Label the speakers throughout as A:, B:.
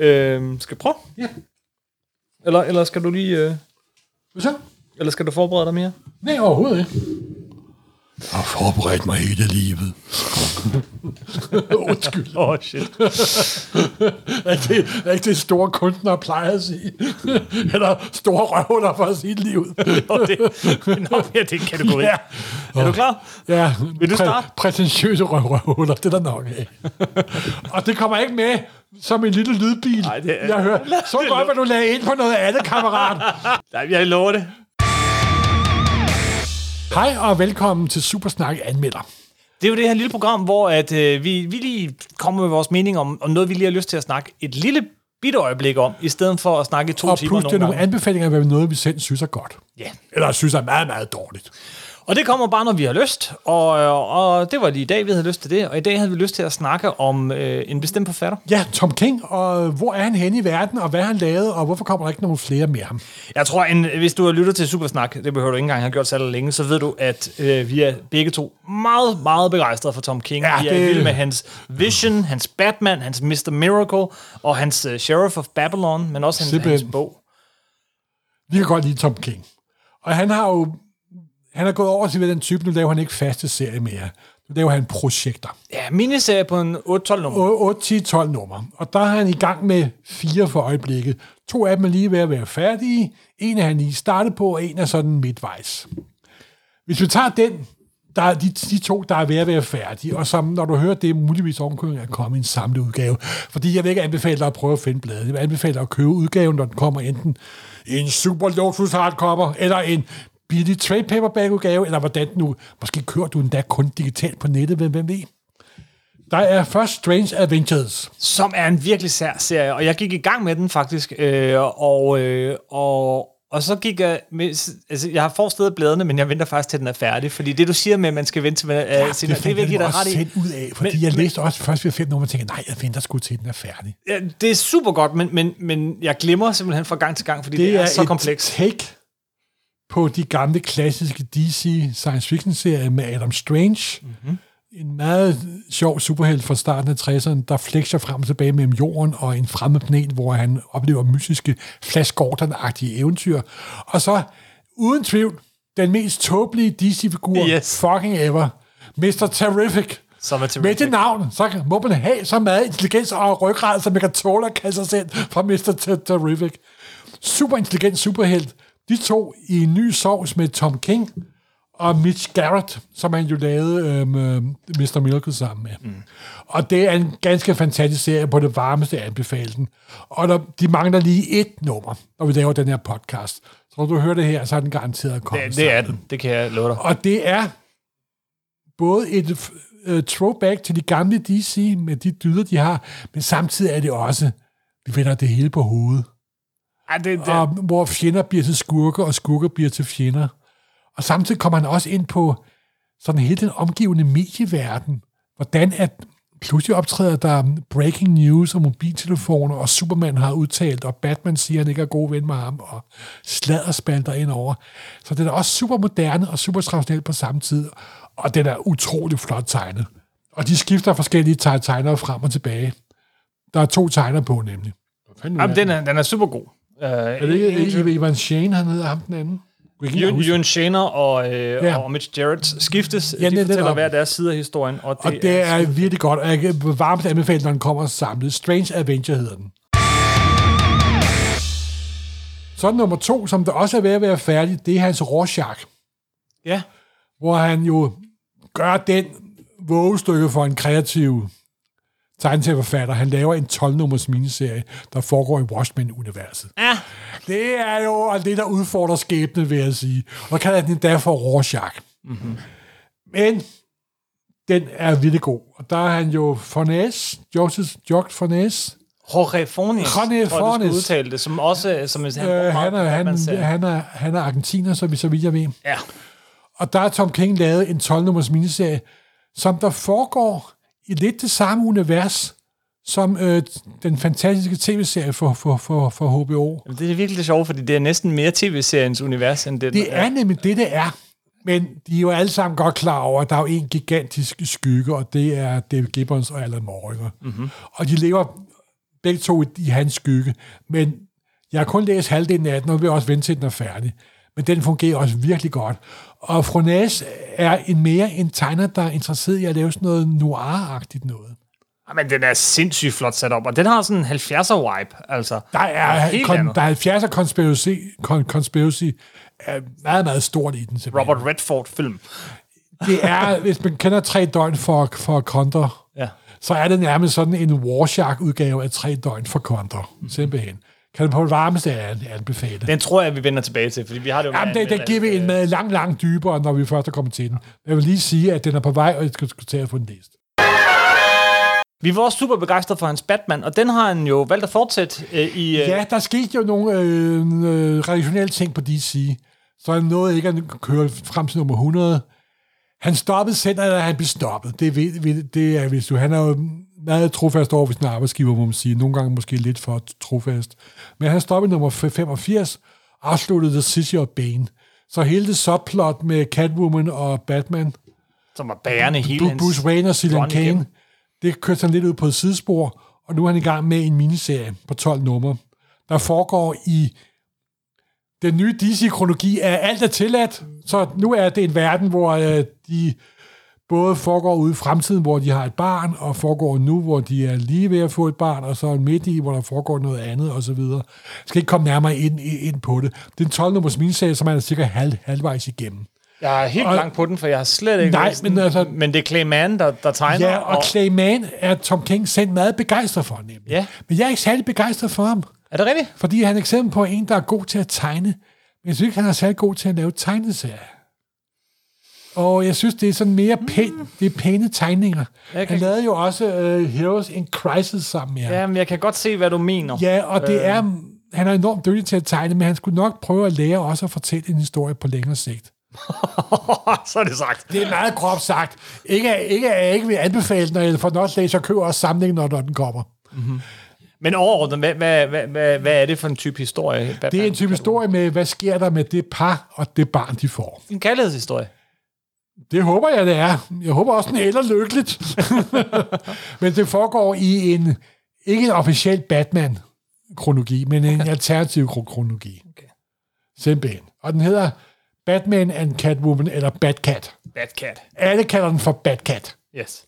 A: Øh, skal jeg prøve?
B: Ja.
A: Eller, eller skal du lige... Øh,
B: Hvad så?
A: eller skal du forberede dig mere?
B: Nej, overhovedet ikke.
C: Jeg har forberedt mig hele livet.
B: Undskyld.
A: Åh, oh, shit.
B: Er ikke det, er ikke det store kunstnere plejer at sige? Eller store røvhuller for at sige livet?
A: Nå, det, nå, ja, det er en kategori.
B: Ja.
A: Ja. Er du klar?
B: Ja,
A: Vil du starte?
B: prætentiøse røvhuller, det er der nok af. Og det kommer ikke med som en lille lydbil.
A: Nej, det er-
B: Jeg hører, så godt, hvad du lagde ind på noget andet, kammerat.
A: Nej, jeg lover det.
B: Hej og velkommen til Supersnak anmelder.
A: Det er jo det her lille program, hvor at, øh, vi, vi lige kommer med vores mening om, om noget, vi lige har lyst til at snakke et lille bitte øjeblik om, i stedet for at snakke i to
B: Og
A: timer
B: plus, det er
A: nogle
B: nogle
A: gange.
B: anbefalinger, hvad noget, vi selv synes er godt.
A: Ja.
B: Eller synes er meget, meget dårligt.
A: Og det kommer bare, når vi har lyst, og, øh, og det var lige i dag, vi havde lyst til det, og i dag havde vi lyst til at snakke om øh, en bestemt forfatter.
B: Ja, Tom King, og hvor er han henne i verden, og hvad har han lavet, og hvorfor kommer der ikke nogen flere med ham?
A: Jeg tror, en, hvis du har lyttet til Supersnak, det behøver du ikke engang have gjort særlig længe, så ved du, at øh, vi er begge to meget, meget begejstrede for Tom King.
B: Ja,
A: vi er
B: det-
A: vilde med hans Vision, hans Batman, hans Mr. Miracle, og hans øh, Sheriff of Babylon, men også hans,
B: Simpelthen.
A: hans bog.
B: Vi kan godt lide Tom King. Og han har jo han er gået over til at være den type, nu laver han ikke faste serie mere. Nu laver han projekter.
A: Ja, miniserie på en 8-12 nummer.
B: 8-10-12 numre. Og der er han i gang med fire for øjeblikket. To af dem er lige ved at være færdige. En er han lige startet på, og en er sådan midtvejs. Hvis vi tager den, der er de, de to, der er ved at være færdige, og som, når du hører det, muligvis ovenkøbet er kommet i en samlet udgave. Fordi jeg vil ikke anbefale dig at prøve at finde bladet. Jeg vil anbefale dig at købe udgaven, når den kommer enten i en super Lotus hardcover, eller en billig trade paperback udgave, eller hvordan den nu. Måske kører du endda kun digitalt på nettet, hvem, hvem ved. Der er først Strange Adventures.
A: som er en virkelig sær serie, og jeg gik i gang med den faktisk, øh, og, øh, og, og så gik jeg, med, altså jeg har forstedet bladene, men jeg venter faktisk til den er færdig, fordi det du siger med, at man skal vente til, man er ja,
B: Ah,
A: senere, det, det er virkelig der er ret i.
B: ret ud af, fordi
A: Men-
B: men, jeg læste også først ved fem nummer, og tænkte, nej, jeg venter sgu til, den er færdig.
A: Ja, det er super godt, men, men, men jeg glemmer simpelthen fra gang til gang, fordi det, det er, er så
B: et
A: komplekst.
B: take på de gamle klassiske DC science fiction serier med Adam Strange.
A: Mhm.
B: Mm-hmm. En meget sjov superhelt fra starten af 60'erne, der flexer frem og tilbage mellem jorden og en fremmed planet, hvor han oplever mystiske Flash Gordon-agtige eventyr. Og så, uden tvivl, den mest tåbelige DC-figur
A: Yes.
B: fucking ever, Mr. Terrific.
A: Som er
B: Med det
A: terrific.
B: navn, så kan- må man have så meget intelligens og ryggrad, som man kan tåle at kalde sig selv fra Mr. Ter- Terrific. Super intelligent superhelt. De to i en ny sovs med Tom King og Mitch Garrett, som han jo lavede øhm, øhm, Mr. Miracle sammen med. Mm. Og det er en ganske fantastisk serie, på det varmeste anbefale den. Og der, de mangler lige et nummer, når vi laver den her podcast. Så når du hører det her, så er den garanteret kommet.
A: Det, det er den, det kan jeg love dig.
B: Og det er både et uh, throwback til de gamle DC med de dyder, de har, men samtidig er det også, vi vender det hele på hovedet.
A: Ej, det, det,
B: Og hvor fjender bliver til skurker, og skurker bliver til fjender. Og samtidig kommer han også ind på sådan hele den omgivende medieverden. Hvordan at pludselig optræder der breaking news og mobiltelefoner, og Superman har udtalt, og Batman siger, at han ikke er god ven med ham, og sladderspalter ind over. Så den er også super moderne og super traditionel på samme tid, og den er utrolig flot tegnet. Og de skifter forskellige teg- tegnere frem og tilbage. Der er to tegnere på, nemlig.
A: jamen, den, er, den er super god. Uh,
B: Er det ikke Ivan- Ivan Shane, han hedder ham den anden? Jeg kan ikke
A: Ewan
B: huske.
A: Ewan Shaner og, øh,
B: Ja.
A: og Mitch Jarrett skiftes.
B: Ja,
A: Ja, de
B: netop.
A: fortæller hver deres side af historien, og det,
B: Og det er virkelig godt, og jeg kan varmt anbefale, når den kommer samlet. Strange Adventure hedder den. Så nummer to, som der også er ved at være færdig, det er hans Rorschach,
A: Ja,
B: hvor han jo gør den vågestykke for en kreativ tegneserieforfatter. Han laver en 12-nummers miniserie, der foregår i Watchmen-universet.
A: ja.
B: Det er jo og det, der udfordrer skæbne, vil jeg sige. Og kalder den endda for Rorschach. Mm-hmm. Men den er vildt god. Og der er han jo Fornæs, Joseph Jock Fornæs.
A: Jorge Fornes,
B: Jorge
A: tror jeg, du
B: Fornes.
A: skulle udtale det, som også som han,
B: Øh,
A: bruger
B: han,
A: meget
B: er, han,
A: Batman-serien.
B: han, er, han er argentiner, så, vi- så vidt jeg ved.
A: Ja.
B: Og der har Tom King lavet en 12-nummers miniserie, som der foregår i lidt det samme univers, som øh, den fantastiske tv-serie for, for, for, for HBO.
A: Jamen, det er virkelig det sjove, fordi det er næsten mere tv-seriens univers, end den. øh,
B: Det er nemlig det, det er. Men de er jo alle sammen godt klar over, at der er jo en gigantisk skygge, og det er David Gibbons og Alan Moore. Ikke? Mm-hmm. Og de lever begge to i, i hans skygge. Men jeg har kun læst halvdelen af den, og vil også vente til den er færdig. Men den fungerer også virkelig godt. Og Frones er en mere en tegner, der er interesseret i at lave sådan noget noir-agtigt noget.
A: Ah, Men den er sindssygt flot sat op, og den har sådan en 70'er vibe, altså.
B: Der er,
A: Helt
B: kon,
A: andet.
B: der er 70'er conspiracy, con, conspiracy er meget, meget stort i den. Simpelthen.
A: Robert Redford-film.
B: Det er, hvis man kender tre døgn for, for Condor,
A: Ja.
B: så er det nærmest sådan en Warshark-udgave af tre døgn for Condor, simpelfen. Kan du på det varmeste an- anbefale.
A: Den tror jeg, vi vender tilbage til, fordi vi har det jo... med
B: Jamen, den, den
A: anmelder-
B: giver vi en med lang, lang dybere, når vi først er kommet til den. Jeg vil lige sige, at den er på vej, og jeg skal skal til at få den læst.
A: Vi var også super begejstrede for hans Batman, og den har han jo valgt at fortsætte øh, i... Øh,
B: Ja, der skete jo nogle øh, øh, redaktionelle ting på DC, så han nåede ikke at køre frem til nummer 100. Han stoppede selv, eller han blev stoppet. Det, ved, ved, det er, hvis du, han er jo meget trofast over ved sin arbejdsgiver, må man sige. Nogle gange måske lidt for trofast. Men han stoppede nummer 85, afsluttede The City of Bane. Så hele det subplot med Catwoman og Batman,
A: som var bærende hele
B: Bu-
A: hans...
B: Bruce Wayne og Cillian
A: run igennem.
B: Kane, det kørte han lidt ud på et sidespor, og nu er han i gang med en miniserie på 12 numre, der foregår i den nye DC-kronologi, er alt er tilladt, så nu er det en verden, hvor øh, de både foregår ude i fremtiden, hvor de har et barn, og foregår nu, hvor de er lige ved at få et barn, og så er midt i, hvor der foregår noget andet, osv. Jeg skal ikke komme nærmere ind, ind på det. Det er en 12-nummers miniserie, som man er cirka halv, halvvejs igennem.
A: Jeg er helt
B: Og-
A: blank på den, for jeg har slet ikke...
B: Nej,
A: læst den.
B: men altså-
A: Men det er Clay Mann, der, der tegner,
B: Ja, og Clayman er Tom King selv meget begejstret for, nemlig.
A: Ja.
B: Men jeg er ikke særlig begejstret for ham,
A: Er det rigtigt?
B: fordi han er et eksempel på en, der er god til at tegne, men jeg synes ikke, han er særlig god til at lave tegneserier. Og jeg synes, det er sådan mere pænt, det er pæne tegninger.
A: Jeg Mm. kan-
B: Han lavede jo også uh, Heroes in Crisis sammen med ham.
A: Ja, Øh. men jeg kan godt se, hvad du mener.
B: Ja, og det er, han er enormt dygtig til at tegne, men han skulle nok prøve at lære også at fortælle en historie på længere sigt.
A: så er det sagt.
B: Det er meget groft sagt. Ikke, ikke, jeg ikke vil anbefale den, og jeg får den også læst, og køber også samlingen, når, når den kommer.
A: Men overordnet, hvad, hvad, hvad, hvad, hvad er det for en type historie? Batman?
B: Det er en type historie med, hvad sker der med det par og det barn, de får.
A: en kærlighedshistorie.
B: Det håber jeg, det er. Jeg håber også, den ender lykkeligt. men det foregår i en, ikke en officiel Batman-kronologi, men en alternativ kro- kronologi.
A: Okay.
B: Simpelthen. Og den hedder Batman and Catwoman, eller Batcat.
A: Batcat.
B: Alle kalder den for Batcat.
A: Yes.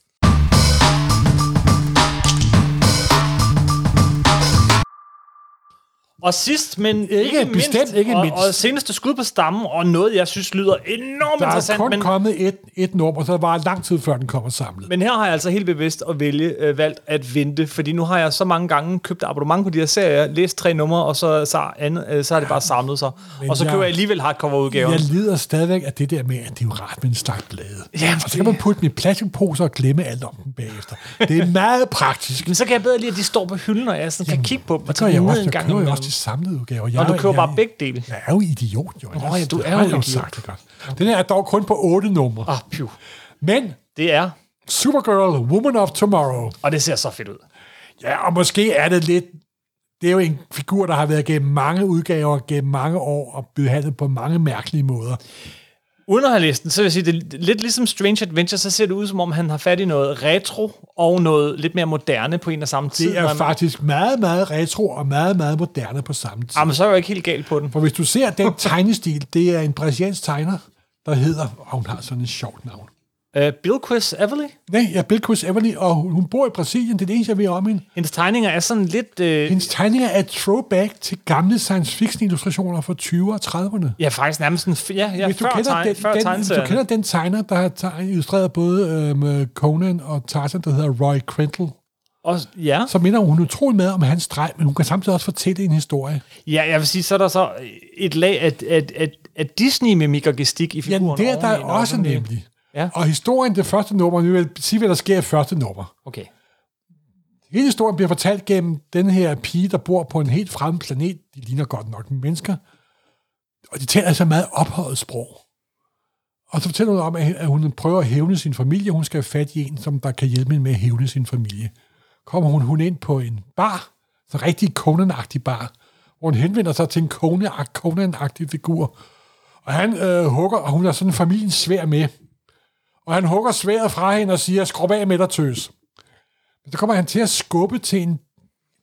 A: Og sidst, men ikke, ikke
B: bestemt
A: mindst,
B: ikke
A: og,
B: mindst.
A: og seneste skud på stammen, og noget, jeg synes lyder enormt
B: Der er
A: interessant,
B: kun
A: men,
B: kommet et, et nummer, så det var lang tid før den kommer samlet.
A: men her har jeg altså helt bevidst at vælge, øh, valgt at vente, fordi nu har jeg så mange gange købt abonnement på de her serier, læst tre numre, og så, så, andet, øh, så er det bare samlet sig. Og så
B: jeg-
A: køber jeg alligevel hardcover-udgaven.
B: Jeg lider stadigvæk af det der med, at det er jo rart med en stak blade.
A: Jamen,
B: og så kan man putte dem i plastikposer og glemme alt om dem bagefter. Det er meget praktisk.
A: Men så kan jeg bedre lide, at de står på hylden, og jeg sådan kan kigge på dem og
B: Det gør
A: tage
B: jeg
A: dem ned
B: også.
A: en
B: Jeg
A: gang.
B: køber jo
A: imellem.
B: også de samlede udgaver. Jeg,
A: Nå, du
B: er-
A: køber
B: jeg,
A: bare begge dele.
B: Jeg er jo idiot, jo.
A: Nå, ja, du er jo
B: har jeg
A: idiot.
B: sagt det godt. Den her er dog kun på otte numre.
A: Ah, piv.
B: Men
A: Det er,
B: Supergirl, Woman of Tomorrow.
A: og det ser så fedt ud.
B: Ja, og måske er det lidt... Det er jo en figur, der har været gennem mange udgaver, gennem mange år, og behandlet på mange mærkelige måder.
A: Uden at have læst den, så vil jeg sige, det er lidt ligesom Strange Adventure, så ser det ud, som om han har fat i noget retro og noget lidt mere moderne på en og samme tid.
B: Det er
A: Men-
B: faktisk meget, meget retro og meget, meget moderne på samme tid.
A: Jamen, Ah, så er jeg jo ikke helt galt på den.
B: For hvis du ser den tegnestil, det er en brasiliansk tegner, der hedder, og hun har sådan et sjovt navn.
A: Uh, Bill Quiz Everly,
B: Nej, jeg er Bill Chris Everly, og hun, hun bor i Brasilien, det er det eneste, jeg ved om hende.
A: hendes tegninger er sådan lidt... Øh,
B: Hendes tegninger er et throwback til gamle science fiction illustrationer fra 20'erne og 30'erne.
A: ja, faktisk nærmest en... f- Ja, ja
B: Hvis du,
A: før,
B: kender
A: tegn,
B: den,
A: før
B: den, hvis du
A: tegneserierne.
B: kender den tegner, der har teg- illustreret både øhm, Conan og Tarzan, der hedder Roy Quintel,
A: Og, ja.
B: så minder hun utrolig meget om hans dreng, men hun kan samtidig også fortælle en historie.
A: ja, jeg vil sige, så er der så et lag af, af, af, af Disney-mimik og gestik i
B: Ja,
A: figuren.
B: det er der
A: oveni,
B: også
A: oveni.
B: nemlig.
A: Ja.
B: Og historien, det første nummer, nu vil jeg sige, hvad der sker i første nummer.
A: Okay.
B: Hele historien bliver fortalt gennem den her pige, der bor på en helt fremmed planet. De ligner godt nok mennesker. Og de taler altså meget ophøjet sprog. Og så fortæller hun om, at at hun prøver at hævne sin familie. Hun skal have fat i en, som der kan hjælpe hende med at hævne sin familie. Kommer hun, hun ind på en bar, så en rigtig conan bar, hvor hun henvender sig til en Conan- Conan-agtig figur. Og han øh, hugger, og hun har sådan familien svær med. Og han hugger sværet fra hende og siger, skrub af med dig, tøs. Men så kommer han til at skubbe til en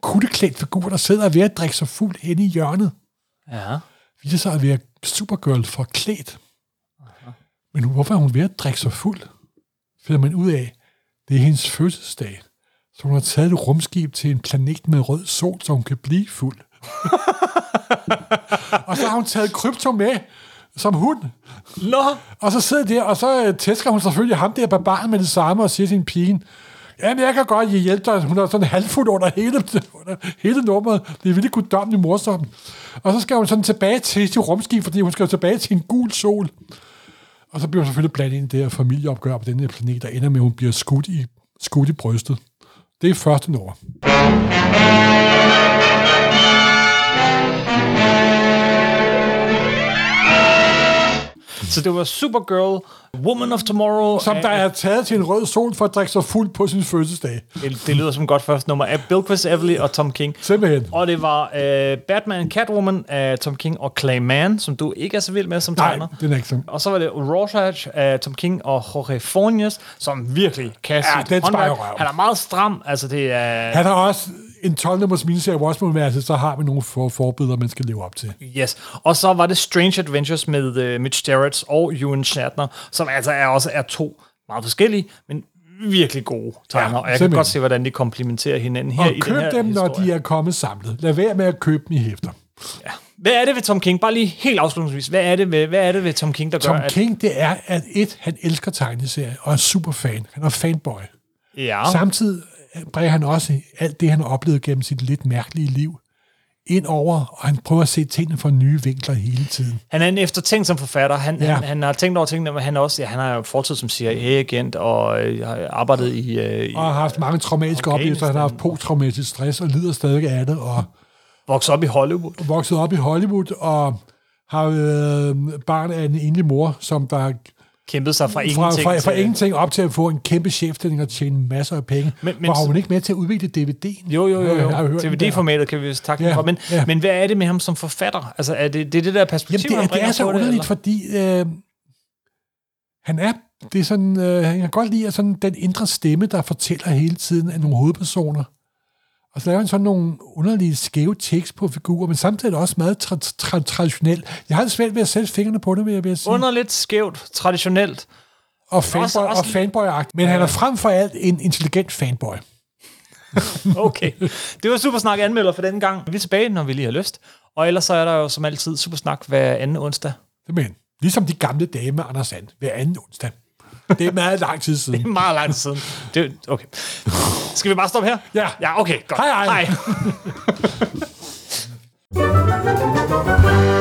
B: kutteklædt figur, der sidder ved at drikke sig fuld hen i hjørnet.
A: Ja.
B: viser sig at være Supergirl forklædt. Men hvorfor er hun ved at drikke sig fuld? Finder man ud af, det er hendes fødselsdag. Så hun har taget et rumskib til en planet med rød sol, så hun kan blive fuld. og så har hun taget krypto med som hund.
A: Nå,
B: Og så sidder der, og så øh, tæsker hun selvfølgelig ham der barbaren med det samme og siger til en pige, jamen jeg kan godt hjælpe dig, hun er sådan halvfuld under hele, under hele nummeret, det er virkelig guddommeligt morsomt. Og så skal hun sådan tilbage til sit rumskib, fordi hun skal jo tilbage til en gul sol. Og så bliver hun selvfølgelig blandt ind i det her familieopgør på den her planet, der ender med, at hun bliver skudt i, skudt i brystet. Det er første nummer.
A: så det var Supergirl, Woman of Tomorrow.
B: Som der er taget til en rød sol for at drikke sig fuld på sin fødselsdag.
A: Det, det lyder som et godt første nummer af Bill Chris Everly og Tom King.
B: Simpelthen.
A: Og det var øh, Batman Catwoman af Tom King og Clayman, som du ikke er så vild med som tegner.
B: Nej, den er ikke sådan.
A: Og så var det Rorschach af Tom King og Jorge Fornes, som virkelig kan
B: Ja,
A: sit
B: den
A: håndværk.
B: sparer røven.
A: Han er meget stram, altså det er...
B: Han har også en 12-nummers miniserie hvor også må være, altså, så har vi nogle for forbedre, man skal leve op til.
A: Yes. Og så var det Strange Adventures med uh, Mitch Gerrits og Ewan Shatner, som altså er, også er to meget forskellige, men virkelig gode tegner. Ja, og jeg kan
B: simpelthen.
A: godt se, hvordan de komplementerer hinanden her
B: Og
A: i den
B: køb
A: her
B: dem, når
A: historie.
B: de er kommet samlet. Lad være med at købe dem i hæfter.
A: Hvad er det ved Tom King? Bare lige helt afslutningsvis. Hvad er det ved, hvad er det ved Tom King, der
B: Tom
A: gør, at...
B: King, det er, at et, han elsker tegneserier og er super fan. Han er fanboy.
A: Ja,
B: Samtidig bringer han også alt det, han har oplevet gennem sit lidt mærkelige liv ind over, og han prøver at se tingene fra nye vinkler hele tiden.
A: han er en eftertænksom forfatter. Han, ja.
B: Ja.
A: han, han har tænkt over tingene, men han, er også, ja, han har jo fortid som CIA-agent og øh, har arbejdet i... Øh, i
B: Og har haft mange traumatiske
A: Afghanistan.
B: oplevelser. Han har haft posttraumatisk stress og lider stadig af det, og
A: vokset op i Hollywood.
B: vokset op i Hollywood og har været øhm, barn af en enlig mor, som der
A: Kæmpet sig fra
B: fra,
A: ingenting
B: fra, fra
A: til...
B: ingenting op til at få en kæmpe chefstilling og tjene masser af penge.
A: Men-
B: Men,
A: men
B: men, var hun
A: så-
B: ikke med til at udvikle DVD'en?
A: Jo, jo, jo.
B: Jeg har
A: jo.
B: hørt den der.
A: DVD-formatet kan vi jo takke ja,
B: Ja,
A: for. Men, ja.
B: ja.
A: men hvad er det med ham som forfatter? Altså, er det, det er det der perspektiv,
B: Jamen, det, er,
A: han
B: det
A: bringer
B: er så
A: på det?
B: underligt,
A: eller?
B: fordi øh, han er, det er sådan, øh, han kan godt lide at sådan den indre stemme, der fortæller hele tiden af nogle hovedpersoner. Og så laver han sådan nogle underlige skæve tekst på figurer, men samtidig også meget tra- tra- traditionelt. Jeg har det svært ved at sætte fingrene på det, vil jeg, vil jeg sige.
A: Underligt, skævt, traditionelt.
B: og fanboy,
A: Også-
B: også,
A: også-
B: og fanboy Men han er frem for alt en intelligent fanboy.
A: Okay. Det var Supersnak anmelder for denne gang. Vi er tilbage, når vi lige har lyst. Og ellers så er der jo som altid Supersnak hver anden onsdag.
B: Men ligesom de gamle dage med Anders Sand hver anden onsdag. Det er meget lang tid siden.
A: Meget lang tid siden. Det, okay. Skal vi bare stoppe her?
B: Ja.
A: Ja, okay. Godt.
B: Hej, hej.
A: hej.